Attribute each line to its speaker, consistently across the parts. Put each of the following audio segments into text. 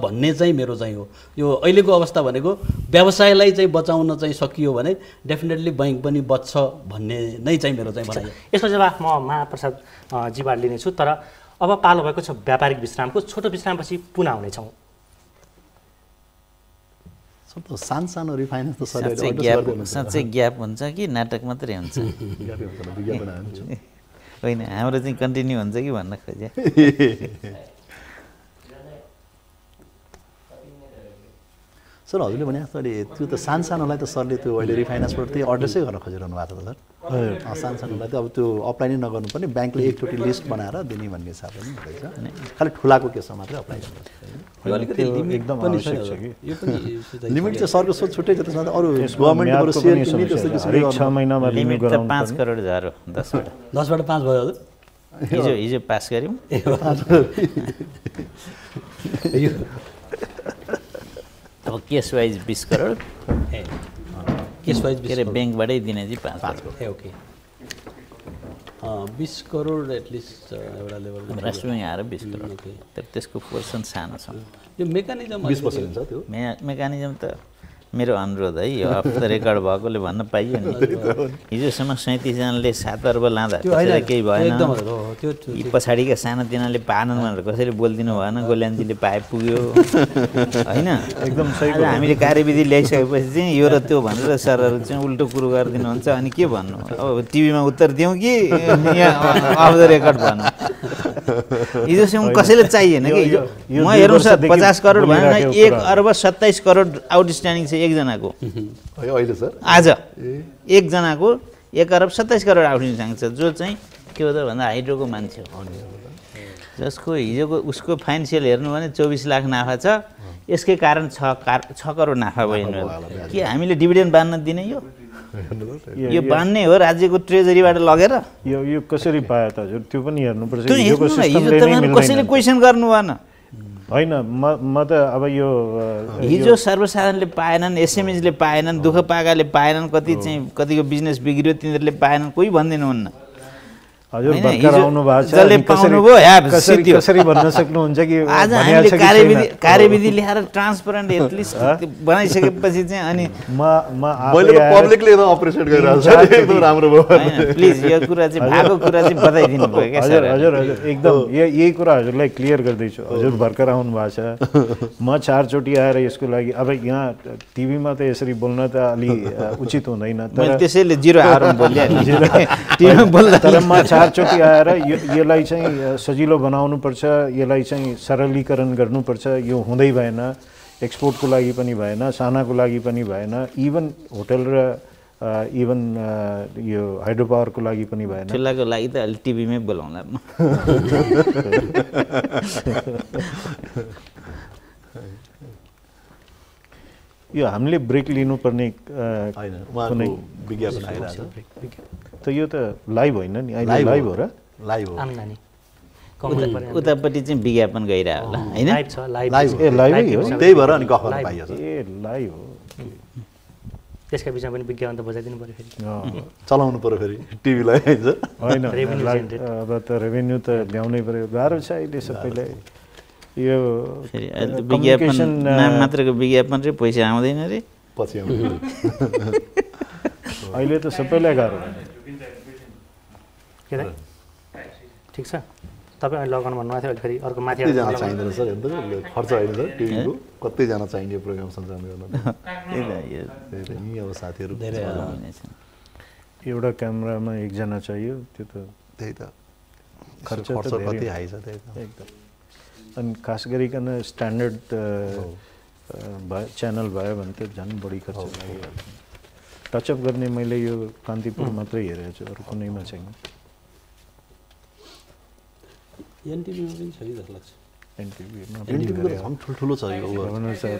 Speaker 1: भन्ने चाहिँ मेरो चाहिँ हो यो अहिलेको अवस्था भनेको व्यवसायलाई चाहिँ बचाउन चाहिँ सकियो भने डेफिनेटली बैङ्क पनि बच्छ भन्ने नै चाहिँ मेरो चाहिँ भनाइ हो।
Speaker 2: यसको जवाफ म महाप्रसाद अ, जीबाट लिनेछु तर अब पालो भएको छ व्यापारिक विश्रामको छोटो विश्रामपछि पुनः हुनेछौँ
Speaker 3: सब त सानो सानो रिफाइनेन्स त सरले
Speaker 4: साँच्चै
Speaker 3: अहिले
Speaker 4: ग्याप
Speaker 3: गर्दै हुनुहुन्छ।
Speaker 4: साँच्चै ग्याप हुन्छ कि नाटक मात्रै हुन्छ
Speaker 3: ज्ञापन हुन्छ होला, विज्ञापन हाल्नुहुन्छ।
Speaker 4: होइन हाम्रो चाहिँ कन्टिन्यू हुन्छ कि भन्न खोजे
Speaker 3: सर हजुरले भने जस्तो अहिले त्यो त सानो सानोलाई त सरले त्यो अहिले रिफाइनेन्सबाट त्यही अड्रेसै गर्न खोजिरहनु भएको छ सर अँ, सानो सानोलाई त अब त्यो अप्लाई नै नगर्नुपर्ने ब्याङ्कले एकचोटि लिस्ट बनाएर दिने भन्ने हिसाबले पनि हुँदैछ खालि ठुलाको केसमा मात्रै अप्लाई गर्नुपर्छ
Speaker 1: यो अलिकति
Speaker 5: त्यो
Speaker 1: लिमिट
Speaker 5: एकदम
Speaker 1: पनि
Speaker 5: आवश्यक
Speaker 1: छ
Speaker 5: छ कि।
Speaker 1: यो पनि
Speaker 3: लिमिट चाहिँ सरको सोच छुट्टै छ त्यसमा त अरू
Speaker 5: त्यसमा
Speaker 3: गभर्मेन्टबाट
Speaker 5: म्यादको
Speaker 3: सेयर
Speaker 5: पनि
Speaker 3: किन्ने
Speaker 5: समस्या
Speaker 3: त्यस्तो
Speaker 5: छ।
Speaker 3: किसिमले
Speaker 5: हरेक छ
Speaker 3: गर्नु।
Speaker 5: महिनामा
Speaker 4: लिमिट
Speaker 5: लिमिट
Speaker 4: त
Speaker 5: गराउनु
Speaker 4: पाँच
Speaker 5: पर्ने।
Speaker 4: करोड झरो दसवटा
Speaker 1: दसबाट पाँच भयो हजुर
Speaker 4: हिजो हिजो पास गऱ्यौँ अब केस वाइज बिस करोड
Speaker 1: ए केस वाइज
Speaker 4: के अरे ब्याङ्कबाटै दिने चाहिँ पाँच करोड
Speaker 1: ए ओके अँ, बिस करोड एटलिस्ट एउटा लेभलमा
Speaker 4: राष्ट्र ब्याङ्क आएर बिस करोड
Speaker 1: ओके।
Speaker 4: तर त्यसको पोर्सन सानो छ
Speaker 1: यो मेकानिजम
Speaker 3: बिस पर्सेन्ट हुन्छ त्यो
Speaker 4: मे मेकानिजम त मेरो अनुरोध है यो अफ द रेकर्ड भएकोले भन्न पाइयो नि हिजोसम्म सैँतिसजनाले सात अर्ब लाँदा
Speaker 1: त्यो होइन,
Speaker 4: त्यसलाई केही भएन
Speaker 1: एकदम हजुर, हो, हो, त्यो- त्यो-
Speaker 4: यी पछाडिका सानातिनाले पाएनन् भनेर कसरी बोलिदिनु भएन गोल्यान्जीले पाए पुग्यो होइन
Speaker 5: एकदम सही
Speaker 4: आज हामीले कार्यविधि ल्याइसकेपछि चाहिँ यो र त्यो भनेर सरहरू चाहिँ उल्टो कुरो गरिदिनुहुन्छ अनि के भन्नु अब टिभीमा उत्तर दिउँ कि यहाँ अफ द रेकर्ड भनौँ हिजोसम्म कसैले चाहिएन
Speaker 5: यो-
Speaker 4: कि हिजो
Speaker 5: यो- यो
Speaker 4: म
Speaker 5: दुई
Speaker 4: हेरौँ सर
Speaker 5: वर्षदेखि
Speaker 4: पचास करोड भएन
Speaker 5: बोलिराखेको
Speaker 4: एक
Speaker 5: कुरा हो।
Speaker 4: अर्ब सत्ताइस करोड आउटस्ट्यान्डिङ छ एकजनाको
Speaker 3: है अहिले सर
Speaker 4: आज एकजनाको एक अर्ब सत्ताइस करोड आउटस्ट्यान्डिङ छ जो चाहिँ के हो त भन्दा हाइड्रोको मान्छे हो जसको हिजोको उसको फाइनेन्सियल हेर्नु भने चौबिस लाख नाफा छ यसकै कारण छ कार छ करोड नाफा भयो यिनीहरू। के हामीले डिभिडेन्ड बाँड्न दिने यो यो
Speaker 5: यो-
Speaker 4: बाँड्ने हो राज्यको ट्रेजरीबाट लगेर
Speaker 5: यो यो कसरी पायो त हजुर त्यो पनि हेर्नुपर्छ
Speaker 4: त्यो
Speaker 5: हिजोको
Speaker 4: हेर्नु न हिजो
Speaker 5: सिस्टमले नै
Speaker 4: तपाईँहरू कसैले
Speaker 5: मिल्दैन।
Speaker 4: क्वेसन गर्नु भएन
Speaker 5: होइन म म त अब यो अ,
Speaker 4: हिजो सर्वसाधारणले पाएनन् एसएमएसले पाएनन् दुःख पाएकाले पाएनन् कति चाहिँ कतिको बिजनेस बिग्रियो तिनीहरूले पाएनन् कोही भनिदिनुहुन्न
Speaker 5: हजुर
Speaker 4: होइन,
Speaker 5: भर्खर
Speaker 4: हिजो
Speaker 5: आउनु भएको छ
Speaker 4: जसले
Speaker 5: अनि कसरी-
Speaker 4: पाउनुभयो, या,
Speaker 5: कसरी
Speaker 4: सित्यो।
Speaker 5: कसरी भन्न सक्नुहुन्छ कि
Speaker 4: आज
Speaker 5: भनेको
Speaker 4: हामीले
Speaker 5: छ कि
Speaker 4: कार्यविधि
Speaker 5: छैन?
Speaker 4: कार्यविधि ल्याएर ट्रान्सपरेन्ट एटलिस्ट बनाइसकेपछि चाहिँ अनि
Speaker 5: म म आफै
Speaker 3: मैले त
Speaker 5: आएर-
Speaker 3: पब्लिकले एकदम अप्रिसिएट गरिरहेको छ एकदम राम्रो भयो
Speaker 4: प्लिज यो कुरा चाहिँ भएको कुरा चाहिँ बताइदिनु भयो क्या
Speaker 5: हजुर
Speaker 4: सर
Speaker 5: हजुर हजुर एकदम यो यही कुरा हजुरलाई क्लियर गर्दैछु हजुर भर्खर आउनु भएको छ म चारचोटि आएर यसको लागि अब यहाँ टिभीमा त यसरी बोल्न त अलि अ, उचित हुँदैन
Speaker 4: मैले
Speaker 5: तर
Speaker 4: त्यसैले जिरो आरोप बोलिहालेँ टिममा बोल्दा
Speaker 5: तर म चारचोटि आएर यो यसलाई चाहिँ अ, सजिलो बनाउनुपर्छ यसलाई चाहिँ सरलीकरण गर्नुपर्छ यो हुँदै भएन एक्सपोर्टको लागि पनि भएन सानाको लागि पनि भएन इभन होटल र अ, इभन अ, यो हाइड्रो पावरको लागि पनि भएन
Speaker 4: ठुलाको लागि त अलिक टिभीमै बोलाउँला म
Speaker 5: यो हामीले ब्रेक लिनुपर्ने अ,
Speaker 3: होइन उहाँको
Speaker 5: कुनै
Speaker 3: विज्ञापन आइरहेको छ
Speaker 5: त यो त लाइभ होइन नि अहिले
Speaker 3: लाइभ
Speaker 5: लाइभ हो र
Speaker 3: लाइभ हो
Speaker 2: आम्दानी कमाउनु पर्यो नि।
Speaker 4: उतापट्टि चाहिँ विज्ञापन गइरहेको होला होइन
Speaker 2: लाइभ छ लाइभ
Speaker 3: लाइभ
Speaker 2: छ।
Speaker 3: हो। ए,
Speaker 5: लाइभै
Speaker 2: लाइभ
Speaker 5: हो।
Speaker 2: छ।
Speaker 3: त्यही भएर अनि गफ गर्न पाइयो सर
Speaker 5: ए लाइभ हो
Speaker 2: त्यसका बिचमा पनि विज्ञापन त बजाइदिनु पऱ्यो फेरि
Speaker 5: अँ,
Speaker 3: चलाउनु पऱ्यो फेरि टिभीलाई होइन सर
Speaker 5: होइन
Speaker 2: Revenue
Speaker 5: लाइभ
Speaker 2: generated.
Speaker 5: अब त रेभेन्यू त ल्याउनै पऱ्यो गाह्रो छ अहिले सबैलाई यो
Speaker 4: फेरि अहिले त विज्ञापन
Speaker 5: communication, अ,
Speaker 4: नाम मात्रको विज्ञापन रे पैसा आउँदैन रे
Speaker 3: पछि आउनु
Speaker 5: अहिले त सबैलाई गाह्रो भयो।
Speaker 2: के दाइ? ठिक छ तपाईँ अहिले लगाउनु भन्नुभएको थियो अहिले फेरि अर्को माथि आएर
Speaker 3: कतिजना
Speaker 2: लगाउनु।
Speaker 3: चाहिँदैन सर हेर्नु त, खर्च होइन सर टिभीको कतिजना चाहिने प्रोग्राम सञ्चालन गर्न
Speaker 4: त्यही त यो
Speaker 3: त्यही त नि अब साथीहरू
Speaker 1: धेरै
Speaker 3: छ।
Speaker 4: हुने छैन।
Speaker 5: एउटा क्यामरामा एकजना चाहियो त्यो त
Speaker 3: त्यही त
Speaker 5: खर्च
Speaker 3: खर्च
Speaker 5: त धेरै
Speaker 3: कति
Speaker 5: हो।
Speaker 3: हाई छ त्यही त
Speaker 5: एकदम अनि खास गरिकन स्ट्यान्डर्ड भयो च्यानल भयो भने त झन् बढी खर्च लाग्यो टचअप गर्ने मैले यो कान्तिपुर मात्रै हेरेको छु अरू कुनैमा छैन
Speaker 1: एनटिभीमा पनि छ कि जस्तो लाग्छ
Speaker 5: एनटिभीमा
Speaker 3: एनटिभीको त झन् ठुल्ठुलो छ यो ऊ-
Speaker 5: भनौँ सर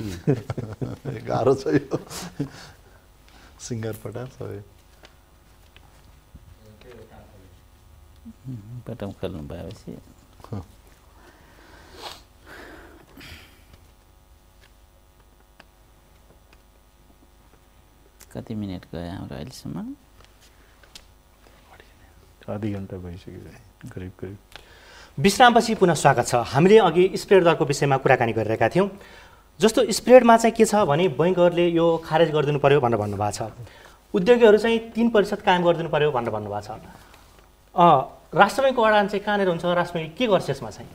Speaker 3: गाह्रो छ यो सिङ्गरपटा सबै
Speaker 4: बटम खोल्नु भएपछि कति मिनट गयो हाम्रो अहिलेसम्म
Speaker 5: आधी घन्टा भइसक्यो करिब करिब
Speaker 2: विश्रामपछि पुनः स्वागत छ हामीले अघि स्प्रेड दरको विषयमा कुराकानी गरिरहेका थियौँ जस्तो स्प्रेडमा चाहिँ के छ भने बैङ्कहरूले यो खारेज गरिदिनु पर्यो भनेर भन्नुभएको छ उद्योगीहरू चाहिँ तिन प्रतिशत कायम गरिदिनु पर्यो भनेर भन्नुभएको छ अँ, राष्ट्र ब्याङ्कको अडान चाहिँ कहाँनिर हुन्छ राष्ट्र ब्याङ्कले के गर्छ यसमा चाहिँ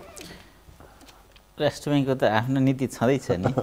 Speaker 4: राष्ट्र ब्याङ्कको त आफ्नो नीति छँदैछ नि